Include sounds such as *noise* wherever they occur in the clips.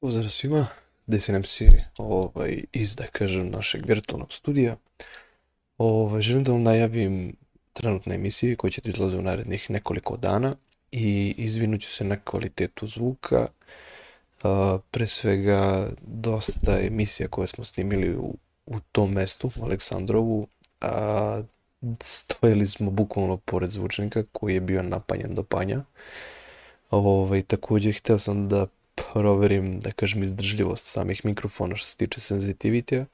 Pozdrav svima, DSNM Siri, ovaj, iz, da kažem, našeg virtualnog studija. Ovaj, želim da vam najavim trenutne emisije koje će ti izlaze u narednih nekoliko dana i izvinut ću se na kvalitetu zvuka. A, pre svega, dosta emisija koje smo snimili u, u tom mestu, u Aleksandrovu, a, stojili smo bukvalno pored zvučnika koji je bio napanjen do panja. Ovaj, takođe, hteo sam da proverim, da kažem, izdržljivost samih mikrofona što se tiče senzitivitija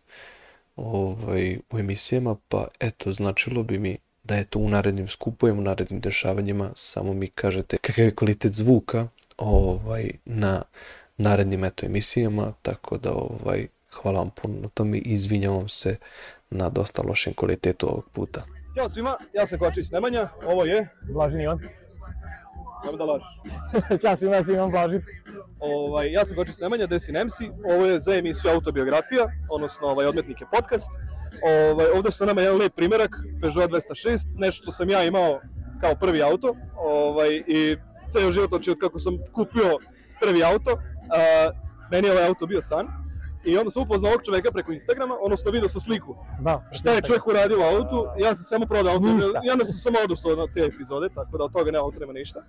ovaj, u emisijama, pa eto, značilo bi mi da je to u narednim skupovima, u narednim dešavanjima, samo mi kažete kakav je kvalitet zvuka ovaj, na narednim eto emisijama, tako da ovaj, hvala vam puno na tome i izvinjavam se na dosta lošem kvalitetu ovog puta. Ćao svima, ja sam Kovačić Nemanja, ovo je, Blažin Ivan. *laughs* nemoj da lažeš. Ćao svima, ja sam Ivan Blažin. Ovaj, ja sam Kočić Nemanja, Desi Nemsi, ovo je za emisiju Autobiografija, odnosno ovaj, Odmetnik je podcast. Ovaj, ovde sa nama je jedan lep primerak, Peugeot 206, nešto što sam ja imao kao prvi auto ovaj, i ceo život, znači od kako sam kupio prvi auto, a, meni je ovaj auto bio san. I onda sam upoznao ovog čoveka preko Instagrama, odnosno video sam sliku Da. šta je čovjek uradio u autu, ja sam samo prodao auto, Ništa. ja ne sam samo odustao na te epizode, tako da od toga nema auto, nema ništa.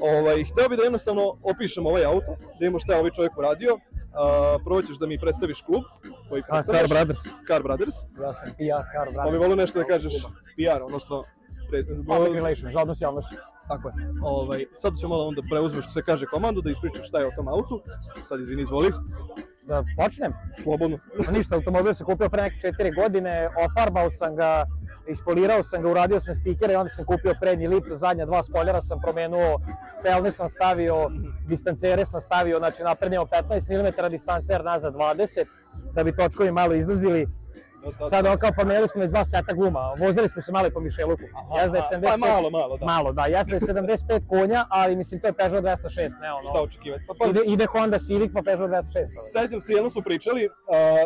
Ovaj, hteo bih da jednostavno opišem ovaj auto, da vidimo šta je ovaj čovjek uradio. A, prvo ćeš da mi predstaviš klub koji A, Car predstavljaš, Brothers. Car Brothers, Ja sam PR, Car pa bi Brothers. volio nešto da kažeš PR, odnosno pre, Public relations, za odnos javnošću. tako je. Ovaj, sad ću malo onda preuzmeš što se kaže komandu, da ispričaš šta je o tom autu. Sad izvini, izvoli, Da počnem? slobodno. Ma Ništa, automobil sam kupio pre neke četiri godine, ofarbao sam ga, ispolirao sam ga, uradio sam stikere i onda sam kupio prednji lip, zadnja dva spoljera sam promenuo, felne sam stavio, distancere sam stavio, znači napred imam 15 mm distancer, nazad 20, da bi točkovi malo izlazili. Da, da, Sad on kao pomerili smo iz dva seta guma, vozili smo se malo i po Mišeluku. Aha, Jazda je aha, 75 Pa malo, malo, da. Malo, da, jeste je 75 konja, ali mislim to je Peugeot 206, ne Šta ono. očekivati? Pa pazi, Ide, ide Honda Civic pa Peugeot 206. ono. Sećam se, jednom smo pričali, a,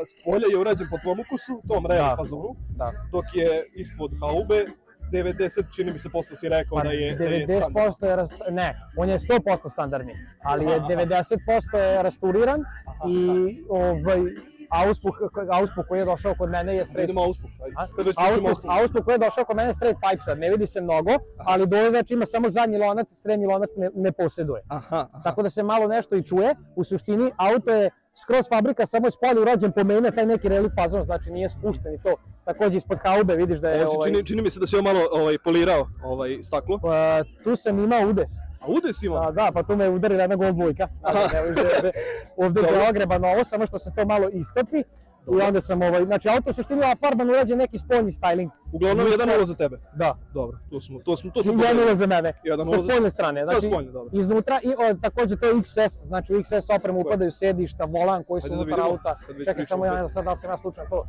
s polja je urađen po tvom ukusu, tom real da. Da. fazonu, Da. dok je ispod haube 90, čini mi se, posle si rekao Pa da je, da je standard. 90% je, rast, ne, on je 100% standardni, ali je Aha, aha. 90% je restauriran Aha, i ovaj, auspuh, auspuh koji je došao kod mene je Da straight idemo auspuh, ajde. A- Kad već pričamo Auspuh, auspuh. auspuh koji je došao kod mene je straight pipe sad, ne vidi se mnogo, ali dole znači ima samo zadnji lonac, srednji lonac ne, ne posjeduje. Aha, aha. tako da se malo nešto i čuje. U suštini, auto je skroz fabrika, samo je spolje urađen po mene, taj neki relik fazon, znači nije spušten i to. Takođe, ispod haube vidiš da je... Ovo se Ovaj, čini, čini mi se da si joj malo ovaj, polirao ovaj, staklo. e, tu sam imao udes. A udes ima? Da, da, pa tu me je udarila jedna gol dvojka. Znači, evo, ovde- *laughs* ovde- Ovde Dobro. je ogrebano ovo, samo što se to malo istopi. I Dobro. onda sam, ovaj, znači auto u suštini je farban urađen neki spoljni styling. Uglavnom, nisam- jedan ulo za tebe. Da, Dobro, tu smo, tu smo, tu smo. jedan ulaz za mene, Jedan sa ulaz za- spoljne strane. Sad Znači, spoljno, dobro. iznutra i o, takođe to je XS, znači u XS opremu upadaju sedišta, volan koji su Ajde da unutar vidimo, auta. kad već Čekaj samo ja pričamo. ne znam sad da li sam ja slučajno to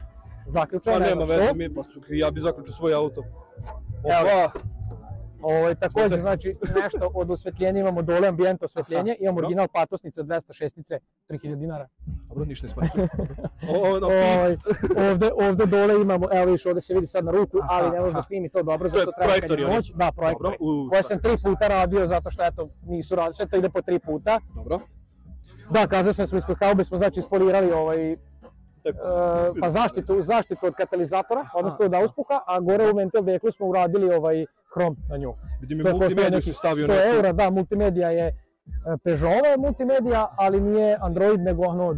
zaključao. Pa ne nema znam što. veze, mi, pa su, ja bi zaključio svoj auto. Evo. Opa, Ovaj takođe Izvolite. znači nešto od osvetljenja imamo dole ambijent osvetljenje, imamo dobro. original patosnica 206-ice 3000 dinara. dobro, ništa *laughs* ne smatram. Ovo, ono, pip, Ovaj ovde ovde dole imamo, evo viš ovde se vidi sad na ruku, ali Aha, ne može aha. da snimi to dobro To je zato treba kad projektori je oni? noć. Da, dobro, projektor. u, Koje sam tri puta radio zato što eto nisu radili, sve to ide po tri puta. dobro. Da, kazao sam smo ispod haube smo znači ispolirali ovaj Taj- E, pa zaštitu, zaštitu od katalizatora, odnosno od auspuha, a gore u ventil deklu smo uradili ovaj hrom na nju. Vidim To je je koštalo multimediju su nekih stavio 100 neku. eura, da, multimedija je e, Peugeotova multimedija, ali nije Android, nego ono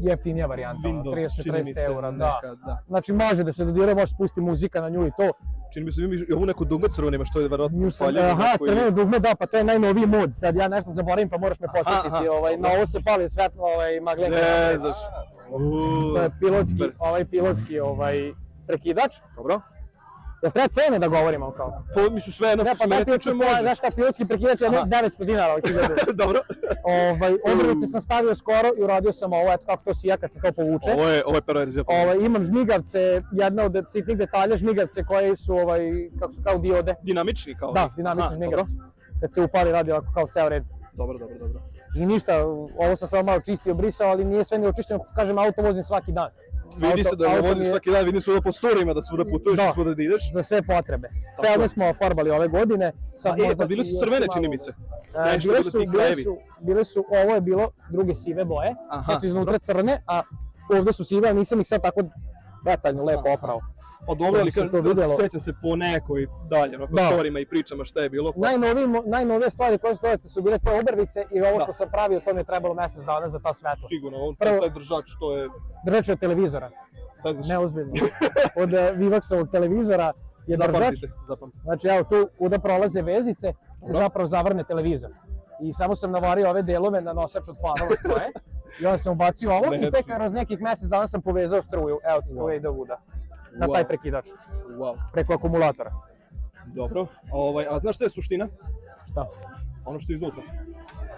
jeftinija varijanta, ono, Windows, čini mi se 30-40 eura, da. neka, da. Znači, može da se dodire, može spusti muzika na nju i to. Čini mi se vidim i ovu neku dugme crvenu ima, što je verovatno Nju sam, paljeno. aha, crveno dugme, da, pa to je najnoviji mod. Sad ja nešto zaboravim, pa moraš me Aha, podsjetiti. aha, Ovaj, na dobro. ovo se pali svetlo, ovaj, magleka. Zezaš. To je E, pilotski, ovaj, pilotski ovaj, prekidač. Dobro. Jel treba cene da govorimo kao? To mi su sve jedno što pa se mene pilotski tiče pre- može. Znaš kao pilotski prekidač je Aha. 900 dinara, ovaj 1000. *laughs* Dobro. Ovaj, obrvice sam stavio skoro i uradio sam ovo, eto kako to sija kad se to povuče. Ovo je, ovo je perverzija. Ovaj, imam žmigavce, jedna od sitnih detalja žmigavce koje su, ovaj, kako su kao diode. Dinamični kao. Da, neki. dinamični Aha, žmigavci. Kad se upali radi ovako kao ceo red. Dobro, dobro, dobro. I ništa, ovo sam samo malo čistio, brisao, ali nije sve ni očišćeno, kažem, auto vozim svaki dan. vidi se Auto- da ne auto voziš mi je- svaki dan, vidi se da po storima da svuda putuješ, Da. da. svuda da ideš. za sve potrebe. Tako Felne je. smo ofarbali ove godine. A, e, možda pa bile i su još crvene, malo- čini mi se. E, Nešto bile, bilo su, ti bile, klevi. su, bile su, ovo je bilo druge sive boje, Aha, sad su iznutra crne, a ovde su sive, ali nisam ih sad tako detaljno lepo Aha. oprao. pa dobro, da bi ali se kažem, to da videlo. sećam se po nekoj dalje, onako Da. storima i pričama šta je bilo. Pa, Najnoviji, mo- najnovije stvari koje su dodate su bile te obrvice i ovo Da. što sam pravio, to mi je trebalo mesec dana za ta svetla. sigurno, on Prvo- taj držač, to je Držač od televizora, senzačno. neozbiljno. Od e, Vivaxovog televizora je držač Zapamtite, zapamtite. Znači, evo tu kuda prolaze vezice, se Dobro. zapravo zavrne televizor. I samo sam navario ove delove na nosač od farova svoje. I onda sam ubacio ovo i tek Lepo. kroz nekih mesec dana sam povezao struju. Evo ti struje Wow. ide ovuda. Na Da. Wow, taj prekidač, Wow, preko akumulatora. dobro. A, ovaj, a znaš šta je suština? Šta? Ono što je iznutra.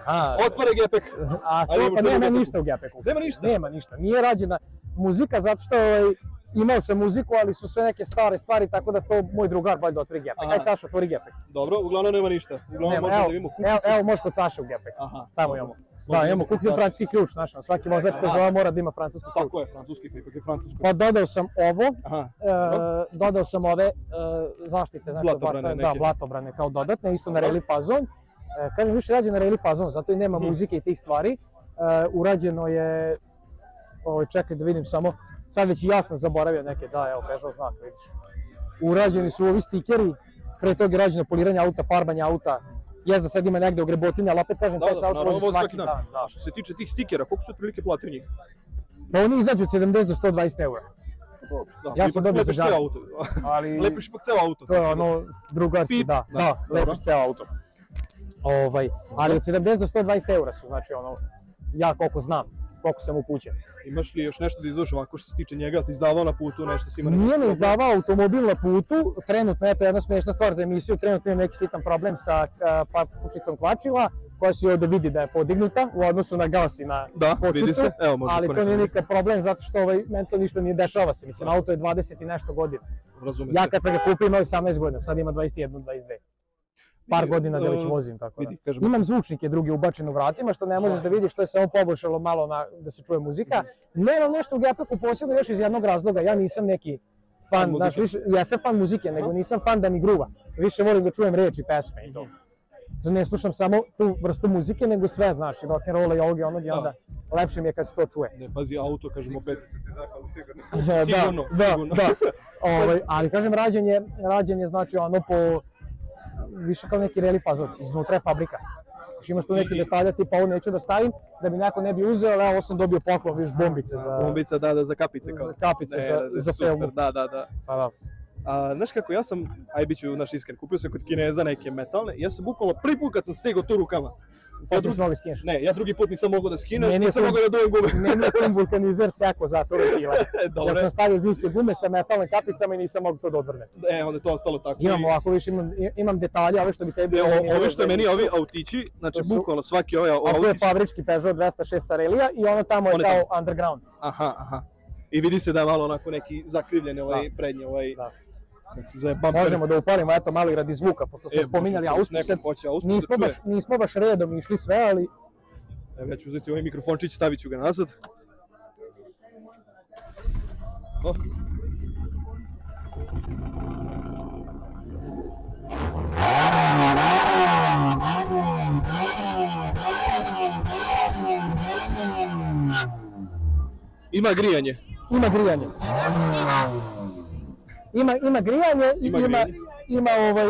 Aha, Otvore gepek. a ali to, imaš pa drugu nema repliku. ništa u Gepeku. Nema ništa. Nema ništa. Nije rađena muzika zato što ovaj, imao sam muziku, ali su sve neke stare stvari, tako da to moj drugar valjda otvori Gepek. Aha. Ajde, Saša, otvori Gepek. Dobro, uglavnom nema ništa. Uglavnom Nema, možemo evo, da vidimo kukicu. Evo, evo možeš kod Saše u Gepek. Aha, Tamo dobro. imamo. Da, Možemo imamo kod kupio Saše. francuski ključ, znaš, na svaki vozač koji Aha. zove mora da ima francuski ključ. Tako je, francuski pa ipak je francuski. Pa dodao sam ovo, Aha, e, dodao sam ove e, zaštite, znači Da. Blatobrane bacam- da, neke. blatobrane kao dodatne, isto na Dobro. reli fazon. E, kažem, više rađe na reli fazon, zato i nema Mhm. muzike i tih stvari. E, urađeno je, ovo, čekaj da vidim samo, sad već i ja sam zaboravio neke, da, evo, bežao znak, vidiš. Urađeni su ovi stikeri, pre toga je rađeno poliranje auta, farbanje auta, jezda sad ima negde ogrebotine, ali opet kažem, Da, taj da, se auto naravno, vozi vozi svaki svaki dan. dan. da. a što se tiče tih stikera, koliko su otprilike platio njih? Pa oni izađu od 70 do 120 eura. Dobro, da, Ja sam ipak dobio lepiš za ceo žabe. auto. *laughs* Ali lepiš ipak ceo auto. to je ono drugačije, Pip, da, da, da, dobro. lepiš ceo auto. Ovaj, ali od 70 do 120 eura su, znači ono, ja koliko znam, koliko sam upućen. Imaš li još nešto da izdvojiš ovako što se tiče njega, ti izdavao na putu, nešto si ima neki Nije mi problem? izdavao automobil na putu, trenutno, eto jedna smiješna stvar za emisiju, trenutno imam neki sitan problem sa e, pa, kućicom kvačila, koja se i ovde vidi da je podignuta u odnosu na gas i na Da, vidi se, evo može da- ali ko to nije ne- nikad problem zato što ovaj, meni to ništa nije dešava se, mislim, Da. auto je 20 i nešto godina. razume Ja se. kad sam ga kupio imao je 18 godina, sad ima 21, 22. Par I, godina da već e, vozim, tako da. Vidi, kažem, Imam zvučnike drugi ubačen u vratima, što ne možeš da vidiš, to je samo poboljšalo malo na, da se čuje muzika. Nemam nešto u Gepeku posebno još iz jednog razloga, ja nisam neki fan, Fan znaš, više, ja sam fan muzike, nego Aha. Mhm. nisam fan da mi gruva. Više volim da čujem reči, pesme i to. Znači, Ne slušam samo tu vrstu muzike, nego sve, znaš, i rock'n'rolla i ovog i onog i Da. onda lepše mi je kad se to čuje. ne pazi auto, kažem *laughs* opet. Sigurno, Da, sigurno. da, da. Ovaj, ali kažem, rađen je, rađen je znači ono po više kao neki reli fazor, iznutra je fabrika. Još imaš tu neki I- detalja, tipa ovo neću da stavim, da mi neko ne bi uzeo, ali ovo sam dobio poklon, viš, bombice za... *laughs* Bombica, da, da, za kapice kao. Za kapice Ne, za, da, da, za super, pelmu. Da, da, da. Pa da. A, znaš kako, ja sam, aj bit ću naš iskren, kupio sam kod Kineza neke metalne, ja sam bukvalno prvi put kad sam stegao tu rukama. Ja Ja drugi drugi, smogli skineš. ne, ja drugi put nisam mogao da skinem, Meni je nisam to- mogao da dojem E, gume. *laughs* Meni je ten vulkanizer sjako za to rekila. Ja Dobre, sam stavio zimske gume sa metalnim kapicama i nisam mogu to da odvrnem. e, onda je to ostalo tako. Imam I- ovako, viš, imam, imam detalje, ove što bi tebi... E, ovo nije o, bilo ovi što je meni, ovi autići, znači To su- bukvalno svaki ovaj A tu je autić, fabrički Peugeot 206 sa relija i ono tamo je On je kao underground. aha, aha. I vidi se da je malo onako neki zakrivljen ovaj prednji, ovaj, Da. kako se zove, bumper. Možemo da uparimo, eto, malo i radi zvuka, pošto smo E, spominjali može, Austriju, sad Neko hoće Austriju da nismo čuje. baš, nismo baš redom išli sve, ali Evo ja ću uzeti ovaj mikrofončić, stavit ću ga nazad. O. Ima grijanje. ima grijanje. Ima, ima grijanje i Ima ima, ima, grijanje. ovaj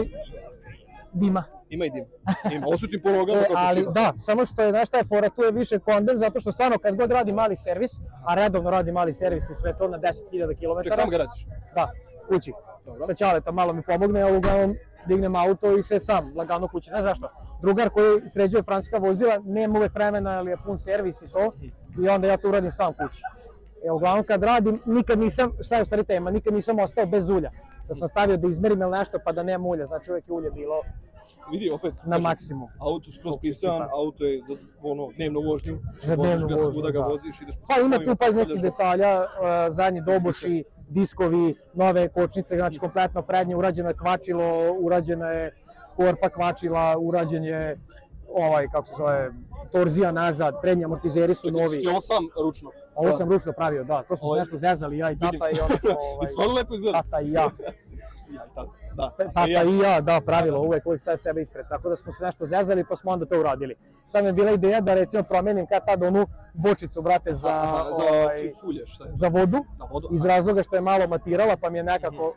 dima. Ima i dim. Ima. Osutim po nogama E, kako ali šiba. da, samo što je, znaš šta je fora, tu je više kondens, zato što stvarno kad god radi mali servis, a redovno radi mali servis i sve to na 10.000 km. Ček, sam ga radiš. Da, kući. Dobro. Sa Ćaleta malo mi pomogne, ja uglavnom dignem auto i sve sam, lagano kući. Znaš zašto? Drugar koji sređuje francuska vozila, nema uvek vremena, ali je pun servis i to. I onda ja to uradim sam kući. E, uglavnom kad radim, nikad nisam, šta je u stvari tema, nikad nisam ostao bez ulja. Da sam stavio da izmerim ili nešto pa da nema ulja, znači uvek je ulje bilo Vidi, opet. na kažem, maksimum. Auto skroz Fokus i pisan, tako. auto je za ono, dnevnu vožnju. Za Voziš dnevnu ga vožnju, Svuda ga da. voziš, ideš po Pa ima sudovima, tu pa iz postavljaš nekih ga. detalja, e, zadnji doboši, diskovi, nove kočnice, znači kompletno prednje, urađeno je kvačilo, urađena je korpa kvačila, urađen je ovaj, kako se zove, torzija nazad, prednji amortizeri su Čekaj, novi. Što je ovo sam ručno? Ovo Da. sam ručno pravio, da. To smo Ovo se je- nešto zezali, ja i Vidim. tata i onda *laughs* smo, I ovaj, stvarno lepo izgleda. tata i *laughs* ja. Ja, tata, da. Tata ja. i ja, da, pravilo, uvek, uvek staje sebe ispred. Tako da smo se nešto zezali, pa smo onda to uradili. Sad mi je bila ideja da recimo promenim kad tad onu bočicu, brate, za, Aha, za ovaj, čipsulje, šta je? Da, za vodu, Na vodu? iz razloga što je malo matirala, pa mi je nekako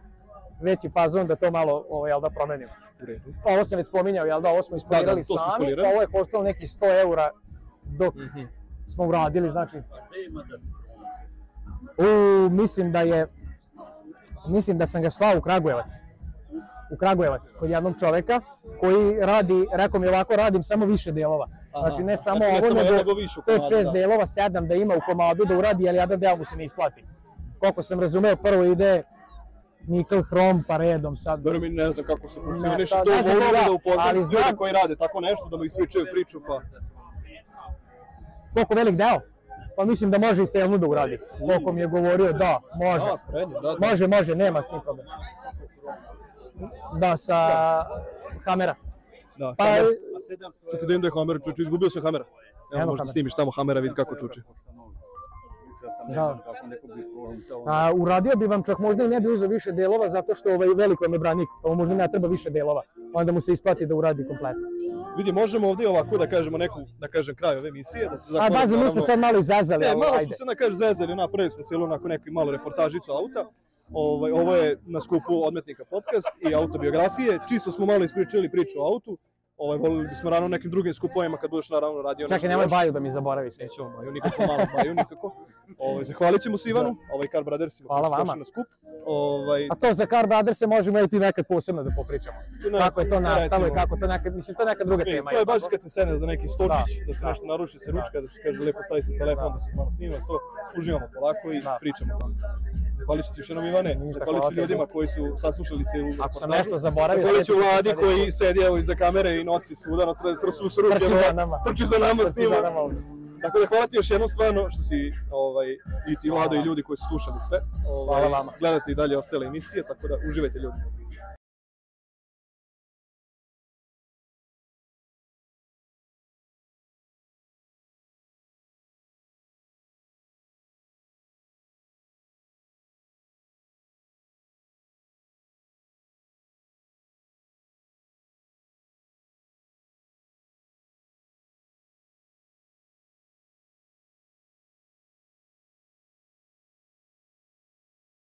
Mhm. veći fazon da to malo, ovaj, jel da, promenim. U redu. Pa ovo sam već spominjao, jel da, ovo smo Da, da, ispolirali to smo sami, ispolirali. pa ovo je koštalo neki 100 eura dok Mhm. smo uradili, znači... Pa da U, mislim da je... Mislim da sam ga slao u Kragujevac. U Kragujevac, kod jednog čoveka koji radi, rekao mi je ovako, radim samo više delova. Aha, Znači ne aha. samo Znači, ne ovo, samo nego jednog, nego više u komadu, 5-6 da. delova, 7 da ima u komadu da uradi, ali jedan deo mu se ne isplati. Koliko sam razumeo, prvo ide nikl, hrom, pa redom sad. Verujem i ne znam kako se Ne, funkcioniše sad, to, ne znam, volio bi da, da upoznam ali ljude znam- koji rade tako nešto, da mu ispričaju priču, pa... Koliko velik deo? Pa mislim da može i felnu da uradi. Koliko mi je govorio, da, može. Da, prednje, da, da. Može, može, nema s tim problem. Da, sa kamera. Da, Pa, kamera. Čekaj da im da je hamera, čuči, izgubio sam hamera. Evo, Evo možda kamera. snimiš tamo hamera, vidi kako čuči. da. A, uradio bi vam čak možda i ne bi uzeo više delova zato što ovaj veliko je me branik, pa mu možda ne treba više delova. Onda mu se isplati da uradi kompletno. Vidi, možemo ovdje ovako da kažemo neku, da kažem, kraj ove emisije, da se A zahvalim. bazi, mi smo naravno- sad malo izazali, Ne, ali malo smo ajde. se na kaže zezeli, napravili smo cijelu onako neku malu reportažicu auta. Ovaj, ovo je na skupu odmetnika podcast i autobiografije. Čisto smo malo ispričali priču o autu. Ovaj, volili bismo rano nekim drugim skupovima kad budeš naravno radio Čekaj, nemoj baju da mi zaboraviš. Neću vam baju, nikako malo baju, nikako. Ovaj, zahvalit ćemo se Ivanu, ovaj Car Brothersima Da. Hvala koji su vama. došli na skup. Ovaj, A to za Car Brothers se možemo i ti nekad posebno da popričamo. ne, Kako je to nastalo i recimo. kako to nekad, mislim to je neka druga Ej, tema. To je baš kad se sedne za neki stočić, da, Da, se da. nešto naruši, se ručka, da se kaže lepo stavi se telefon, da, Da. se malo snima, to uživamo polako i Da. pričamo tamo. Hvala ću ti još jednom Ivane, Ništa, zahvalit ću hvala ti. ljudima koji su saslušali cijelu Ako sam nešto zaboravio... Zahvalit ću sjetit ću se da vladi sad koji sedi evo iza kamere i nosi svuda, na trsu s ruke, Trči ono, za nama. trči za nama, Trči za snima. nama ovdje. Tako da hvala ti još jednom stvarno što si ovaj, i ti Hvala Lado i vam. ljudi koji su slušali sve. ovaj, Hvala vama. Gledate i dalje ostale emisije, tako da uživajte ljudi.